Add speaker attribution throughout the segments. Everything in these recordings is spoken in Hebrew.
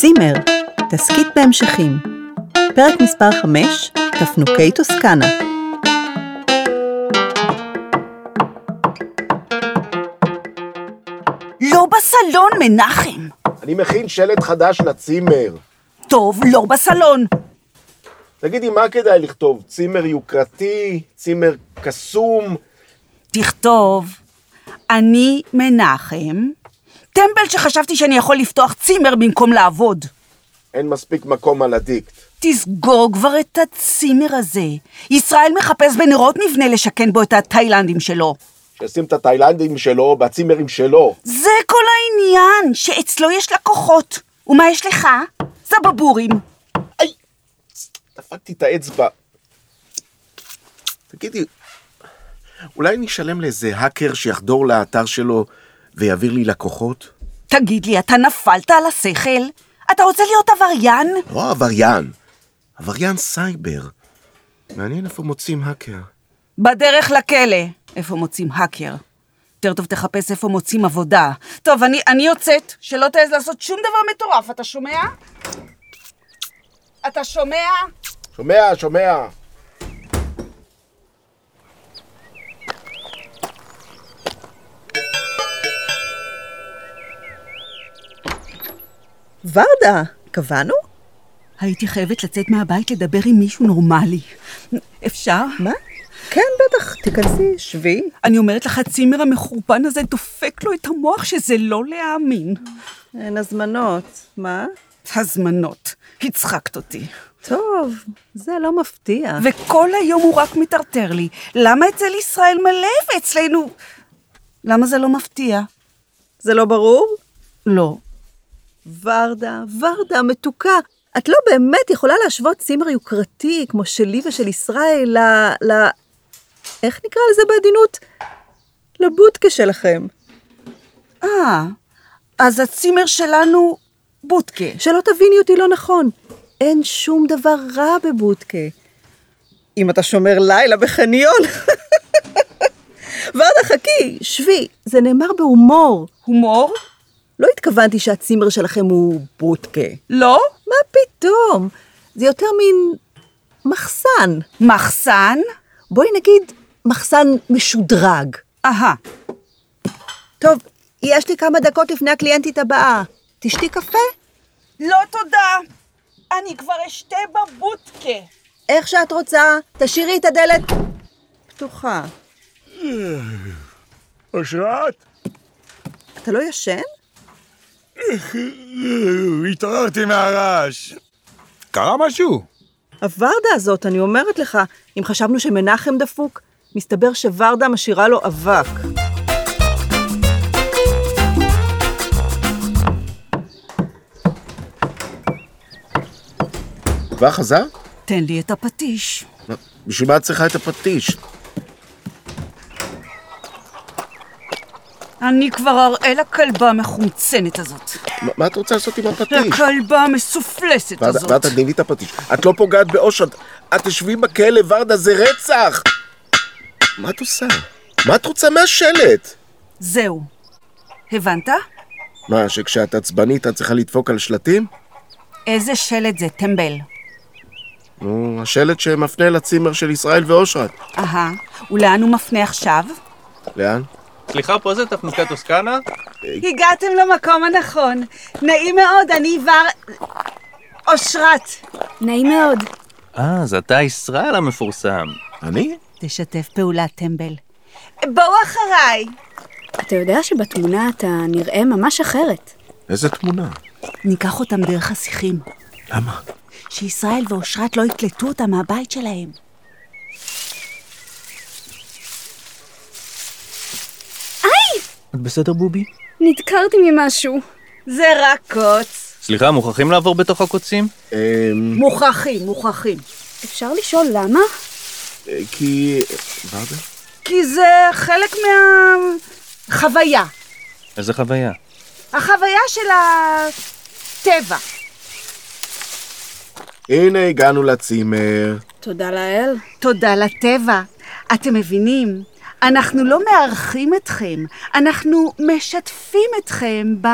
Speaker 1: צימר, תסכית בהמשכים. פרק מספר 5, תפנוקי טוסקנה.
Speaker 2: לא בסלון, מנחם.
Speaker 3: אני מכין שלט חדש לצימר.
Speaker 2: טוב, לא בסלון.
Speaker 3: תגידי, מה כדאי לכתוב? צימר יוקרתי? צימר קסום?
Speaker 2: תכתוב, אני מנחם, טמבל שחשבתי שאני יכול לפתוח צימר במקום לעבוד.
Speaker 3: אין מספיק מקום על הדיקט.
Speaker 2: תסגור כבר את הצימר הזה. ישראל מחפש בנרות מבנה לשכן בו את התאילנדים שלו.
Speaker 3: שישים את התאילנדים שלו בצימרים שלו.
Speaker 2: זה כל העניין, שאצלו יש לקוחות. ומה יש לך? זבבורים.
Speaker 3: איי! דפקתי את האצבע. תגידי, אולי נשלם לאיזה האקר שיחדור לאתר שלו ויעביר לי לקוחות?
Speaker 2: תגיד לי, אתה נפלת על השכל? אתה רוצה להיות עבריין?
Speaker 3: לא עבריין, עבריין סייבר. מעניין איפה מוצאים האקר.
Speaker 2: בדרך לכלא. איפה מוצאים האקר? יותר טוב תחפש איפה מוצאים עבודה. טוב, אני, אני יוצאת, שלא תעז לעשות שום דבר מטורף, אתה שומע? אתה שומע?
Speaker 3: שומע, שומע.
Speaker 1: ורדה, קבענו?
Speaker 2: הייתי חייבת לצאת מהבית לדבר עם מישהו נורמלי. אפשר?
Speaker 1: מה? כן, בטח, תיכנסי, שבי.
Speaker 2: אני אומרת לך, הצימר המחורבן הזה דופק לו את המוח שזה לא להאמין.
Speaker 1: אין הזמנות. מה?
Speaker 2: הזמנות. הצחקת אותי.
Speaker 1: טוב, זה לא מפתיע.
Speaker 2: וכל היום הוא רק מתערטר לי. למה אצל ישראל מלא ואצלנו... למה זה לא מפתיע?
Speaker 1: זה לא ברור?
Speaker 2: לא.
Speaker 1: ורדה, ורדה, מתוקה. את לא באמת יכולה להשוות צימר יוקרתי כמו שלי ושל ישראל ל... ל... איך נקרא לזה בעדינות? לבודקה שלכם.
Speaker 2: אה, אז הצימר שלנו בודקה.
Speaker 1: שלא תביני אותי לא נכון. אין שום דבר רע בבודקה. אם אתה שומר לילה בחניון. ורדה, חכי, שבי. זה נאמר בהומור.
Speaker 2: הומור?
Speaker 1: לא התכוונתי שהצימר שלכם הוא בודקה.
Speaker 2: לא?
Speaker 1: מה פתאום? זה יותר מין מחסן.
Speaker 2: מחסן?
Speaker 1: בואי נגיד מחסן משודרג.
Speaker 2: אהה.
Speaker 1: טוב, יש לי כמה דקות לפני הקליינטית הבאה. תשתי קפה?
Speaker 2: לא תודה. אני כבר אשתה בבודקה.
Speaker 1: איך שאת רוצה, תשאירי את הדלת פתוחה.
Speaker 4: אושרת?
Speaker 1: אתה לא ישן?
Speaker 4: התעוררתי מהרעש. קרה משהו?
Speaker 1: הוורדה הזאת, אני אומרת לך, אם חשבנו שמנחם דפוק, מסתבר שוורדה משאירה לו אבק.
Speaker 3: כבר חזר?
Speaker 2: תן לי את הפטיש.
Speaker 3: מה, בשביל מה את צריכה את הפטיש?
Speaker 2: אני כבר אראה לכלבה המחומצנת הזאת.
Speaker 3: מה- מה את רוצה לעשות עם הפטיש?
Speaker 2: לכלבה המסופלסת
Speaker 3: ורדה,
Speaker 2: הזאת.
Speaker 3: ורדה, תני לי את הפטיש. את לא פוגעת באושר. את- את תשבי בכלא, ורדה, זה רצח! מה את עושה? מה את רוצה מהשלט?
Speaker 2: זהו. הבנת?
Speaker 3: מה, שכשאת עצבנית את צריכה לדפוק על שלטים?
Speaker 2: איזה שלט זה, טמבל.
Speaker 3: נו, השלט שמפנה לצימר של ישראל ואושרת.
Speaker 2: אהה. ולאן הוא מפנה עכשיו?
Speaker 3: לאן?
Speaker 5: סליחה, פה זה תפנוקי טוסקנה?
Speaker 2: הגעתם למקום הנכון. נעים מאוד, אני ור... אושרת.
Speaker 6: נעים מאוד.
Speaker 5: אה, אז אתה ישראל המפורסם.
Speaker 3: אני?
Speaker 2: תשתף פעולה, טמבל. בואו אחריי.
Speaker 6: אתה יודע שבתמונה אתה נראה ממש אחרת.
Speaker 3: איזה תמונה?
Speaker 2: ניקח אותם דרך השיחים.
Speaker 3: למה?
Speaker 2: שישראל ואושרת לא יקלטו אותם מהבית שלהם.
Speaker 5: את בסדר, בובי?
Speaker 6: נדקרתי ממשהו.
Speaker 2: זה רק קוץ.
Speaker 5: סליחה, מוכרחים לעבור בתוך הקוצים?
Speaker 3: אמ...
Speaker 2: מוכרחים, מוכרחים.
Speaker 6: אפשר לשאול למה?
Speaker 3: אה, כי... ורדה?
Speaker 2: כי זה חלק מהחוויה.
Speaker 5: איזה חוויה.
Speaker 2: החוויה של הטבע.
Speaker 3: הנה הגענו לצימר.
Speaker 6: תודה לאל.
Speaker 2: תודה לטבע. אתם מבינים? אנחנו לא מארחים אתכם, אנחנו משתפים אתכם ב...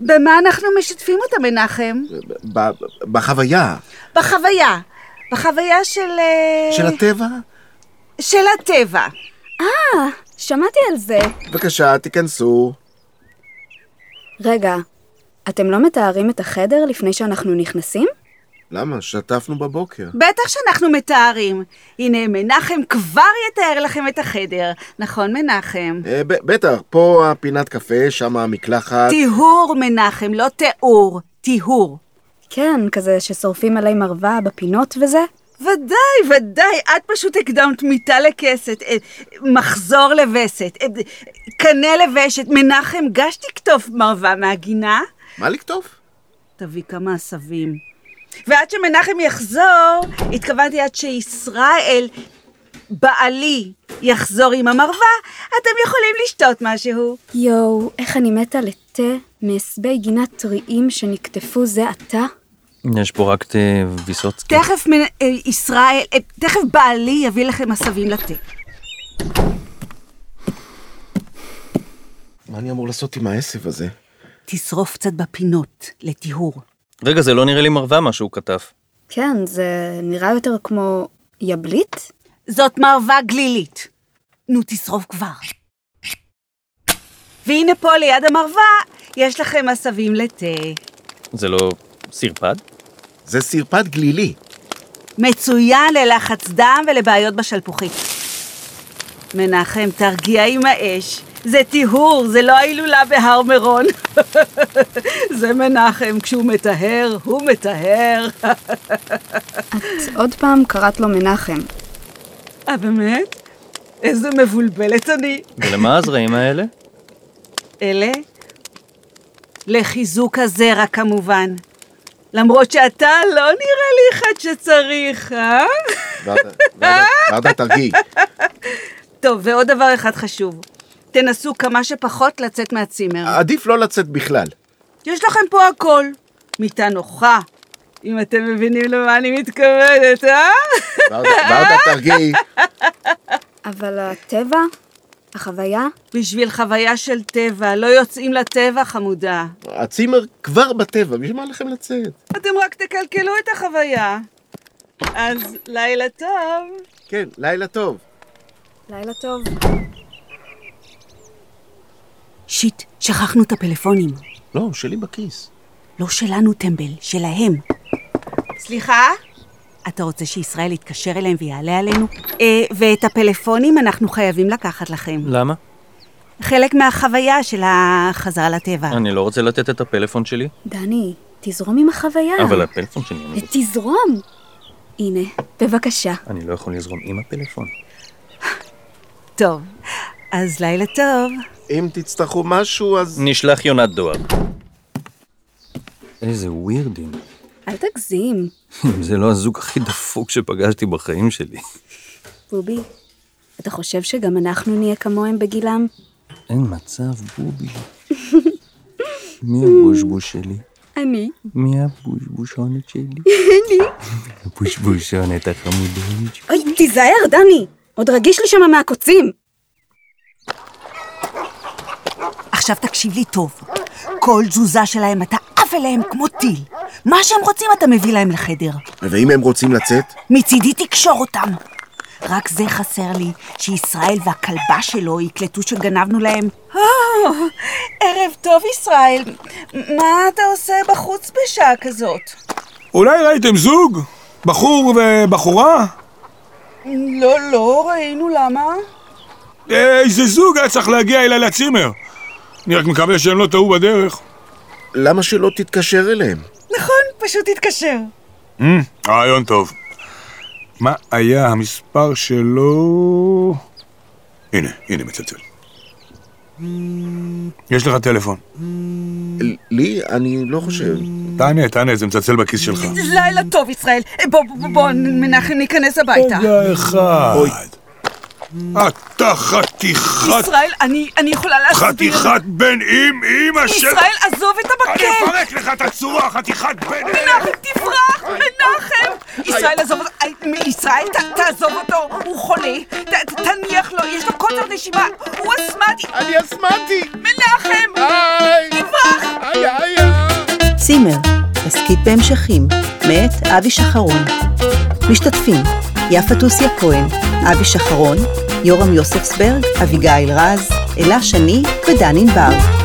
Speaker 2: במה אנחנו משתפים אותה, מנחם?
Speaker 3: ב- בחוויה
Speaker 2: בחוויה. בחוויה של... אה,
Speaker 3: של הטבע?
Speaker 2: של הטבע.
Speaker 6: אה, שמעתי על זה.
Speaker 3: בבקשה, תיכנסו.
Speaker 6: רגע, אתם לא מתארים את החדר לפני שאנחנו נכנסים?
Speaker 3: למה? שטפנו בבוקר.
Speaker 2: בטח שאנחנו מתארים. הנה, מנחם כבר יתאר לכם את החדר. נכון, מנחם?
Speaker 3: אה, ב- בטח, פה הפינת קפה, שם המקלחת.
Speaker 2: טיהור, מנחם, לא תיאור. טיהור.
Speaker 6: כן, כזה ששורפים עלי מרווה בפינות וזה?
Speaker 2: ודאי, ודאי, את פשוט הקדמת מיטה לכסת, אה, מחזור לווסת, אה, קנה לבשת. מנחם, גש תקטוף מרווה מהגינה.
Speaker 3: מה לכתוב?
Speaker 2: תביא כמה עשבים. ועד שמנחם יחזור, התכוונתי עד שישראל, בעלי, יחזור עם המרווה, אתם יכולים לשתות משהו.
Speaker 6: יואו, איך אני מתה לתה מהסבי גינת טריים שנקטפו זה עתה?
Speaker 5: יש פה רק אה, ויסוצקי.
Speaker 2: תכף מנ... אה, ישראל, אה, תכף בעלי יביא לכם עשבים לתה.
Speaker 3: מה אני אמור לעשות עם העשב הזה?
Speaker 2: תשרוף קצת בפינות, לטיהור.
Speaker 5: רגע, זה לא נראה לי מרווה מה שהוא כתב.
Speaker 6: כן, זה נראה יותר כמו יבלית?
Speaker 2: זאת מרווה גלילית. נו, תשרוף כבר. והנה פה ליד המרווה, יש לכם עשבים לתה.
Speaker 5: זה לא סרפד?
Speaker 3: זה סרפד גלילי.
Speaker 2: מצוין ללחץ דם ולבעיות בשלפוחית. מנחם, תרגיע עם האש. זה טיהור, זה לא ההילולה בהר מירון. זה מנחם, כשהוא מטהר, הוא מטהר.
Speaker 6: את עוד פעם קראת לו מנחם.
Speaker 2: אה, באמת? איזה מבולבלת אני.
Speaker 5: ולמה הזרעים האלה?
Speaker 2: אלה? לחיזוק הזרע, כמובן. למרות שאתה לא נראה לי אחד שצריך, אה?
Speaker 3: ורדה, ורדה, ורדה, תרגיעי.
Speaker 2: טוב, ועוד דבר אחד חשוב. תנסו כמה שפחות לצאת מהצימר.
Speaker 3: עדיף לא לצאת בכלל.
Speaker 2: יש לכם פה הכל. מיטה נוחה, אם אתם מבינים למה אני מתכוונת, אה?
Speaker 3: ורדה, ורדה, תרגיעי.
Speaker 6: אבל הטבע? החוויה?
Speaker 2: בשביל חוויה של טבע, לא יוצאים לטבע, חמודה.
Speaker 3: הצימר כבר בטבע, בשביל מה לכם לצאת?
Speaker 2: אתם רק תקלקלו את החוויה. אז לילה טוב.
Speaker 3: כן, לילה טוב.
Speaker 6: לילה טוב.
Speaker 2: שיט, שכחנו את הפלאפונים.
Speaker 3: לא, שלי בכיס.
Speaker 2: לא שלנו, טמבל, שלהם. סליחה? אתה רוצה שישראל יתקשר אליהם ויעלה עלינו? אה, ואת הפלאפונים אנחנו חייבים לקחת לכם.
Speaker 5: למה?
Speaker 2: חלק מהחוויה של החזרה לטבע.
Speaker 5: אני לא רוצה לתת את הפלאפון שלי,
Speaker 6: דני, תזרום עם החוויה.
Speaker 5: אבל הפלאפון שלי, אני-
Speaker 6: תזרום! הנה, בבקשה.
Speaker 5: אני לא יכול לזרום עם הפלאפון.
Speaker 2: טוב, אז לילה טוב.
Speaker 3: אם תצטרכו משהו, אז...
Speaker 5: נשלח יונת דואר. איזה ווירדים.
Speaker 6: אל תגזים.
Speaker 5: זה לא הזוג הכי דפוק שפגשתי בחיים שלי.
Speaker 6: בובי, אתה חושב שגם אנחנו נהיה כמוהם בגילם?
Speaker 5: אין מצב, בובי. מי הבושבוש שלי?
Speaker 6: אני.
Speaker 5: מי הבושבושונת שלי? הבושבושונת החמודונית שלי.
Speaker 6: אוי, תיזהר, דני! עוד רגיש לי שמה מהקוצים!
Speaker 2: עכשיו תקשיב לי טוב. כל תזוזה שלהם אתה עף אליהם כמו טיל. מה שהם רוצים אתה מביא להם לחדר.
Speaker 3: ואם הם רוצים לצאת?
Speaker 2: מצידי תקשור אותם. רק זה חסר לי, שישראל והכלבה שלו יקלטו שגנבנו להם. או, אה, ערב טוב, ישראל. מה אתה עושה בחוץ בשעה כזאת?
Speaker 4: אולי ראיתם זוג? בחור ובחורה?
Speaker 2: לא, לא, ראינו למה.
Speaker 4: איזה זוג היה צריך להגיע אליי לצימר. אני רק מקווה שהם לא טעו בדרך.
Speaker 3: למה שלא תתקשר אליהם?
Speaker 2: נכון, פשוט התקשר.
Speaker 4: רעיון טוב. אמ, מה היה המספר שלו? הנה, הנה מצלצל. יש לך טלפון.
Speaker 3: לי? אני לא חושב.
Speaker 4: תענה, תענה, זה מצלצל בכיס שלך.
Speaker 2: לילה טוב, ישראל. בוא, בוא, בוא, מנחם, ניכנס הביתה.
Speaker 4: רגע אחד. אתה חתיכת,
Speaker 2: ישראל, אני, אני יכולה להסביר.
Speaker 4: חתיכת בן אים, אימא של...
Speaker 2: ישראל, כן. עזוב את
Speaker 4: אני
Speaker 2: המקל!
Speaker 4: אפרק לך את הצורה, חתיכת בן אים!
Speaker 2: מנחם, תברח! מנחם! ישראל, עזוב אותו! אי, מ- ישראל, ת- תעזוב אותו! הוא חולה! ת- ת- תניח לו, יש לו קוצר נשימה! הוא אסמטי!
Speaker 3: אני אסמטי!
Speaker 2: מנחם!
Speaker 3: היי!
Speaker 2: תברח!
Speaker 3: היי, היי,
Speaker 1: צימר, הסכית בהמשכים, מאת אבי שחרון. משתתפים יפה תוסיה כהן, אבי שחרון, יורם יוספסברג, אביגיל רז, אלה שני ודן ענבר.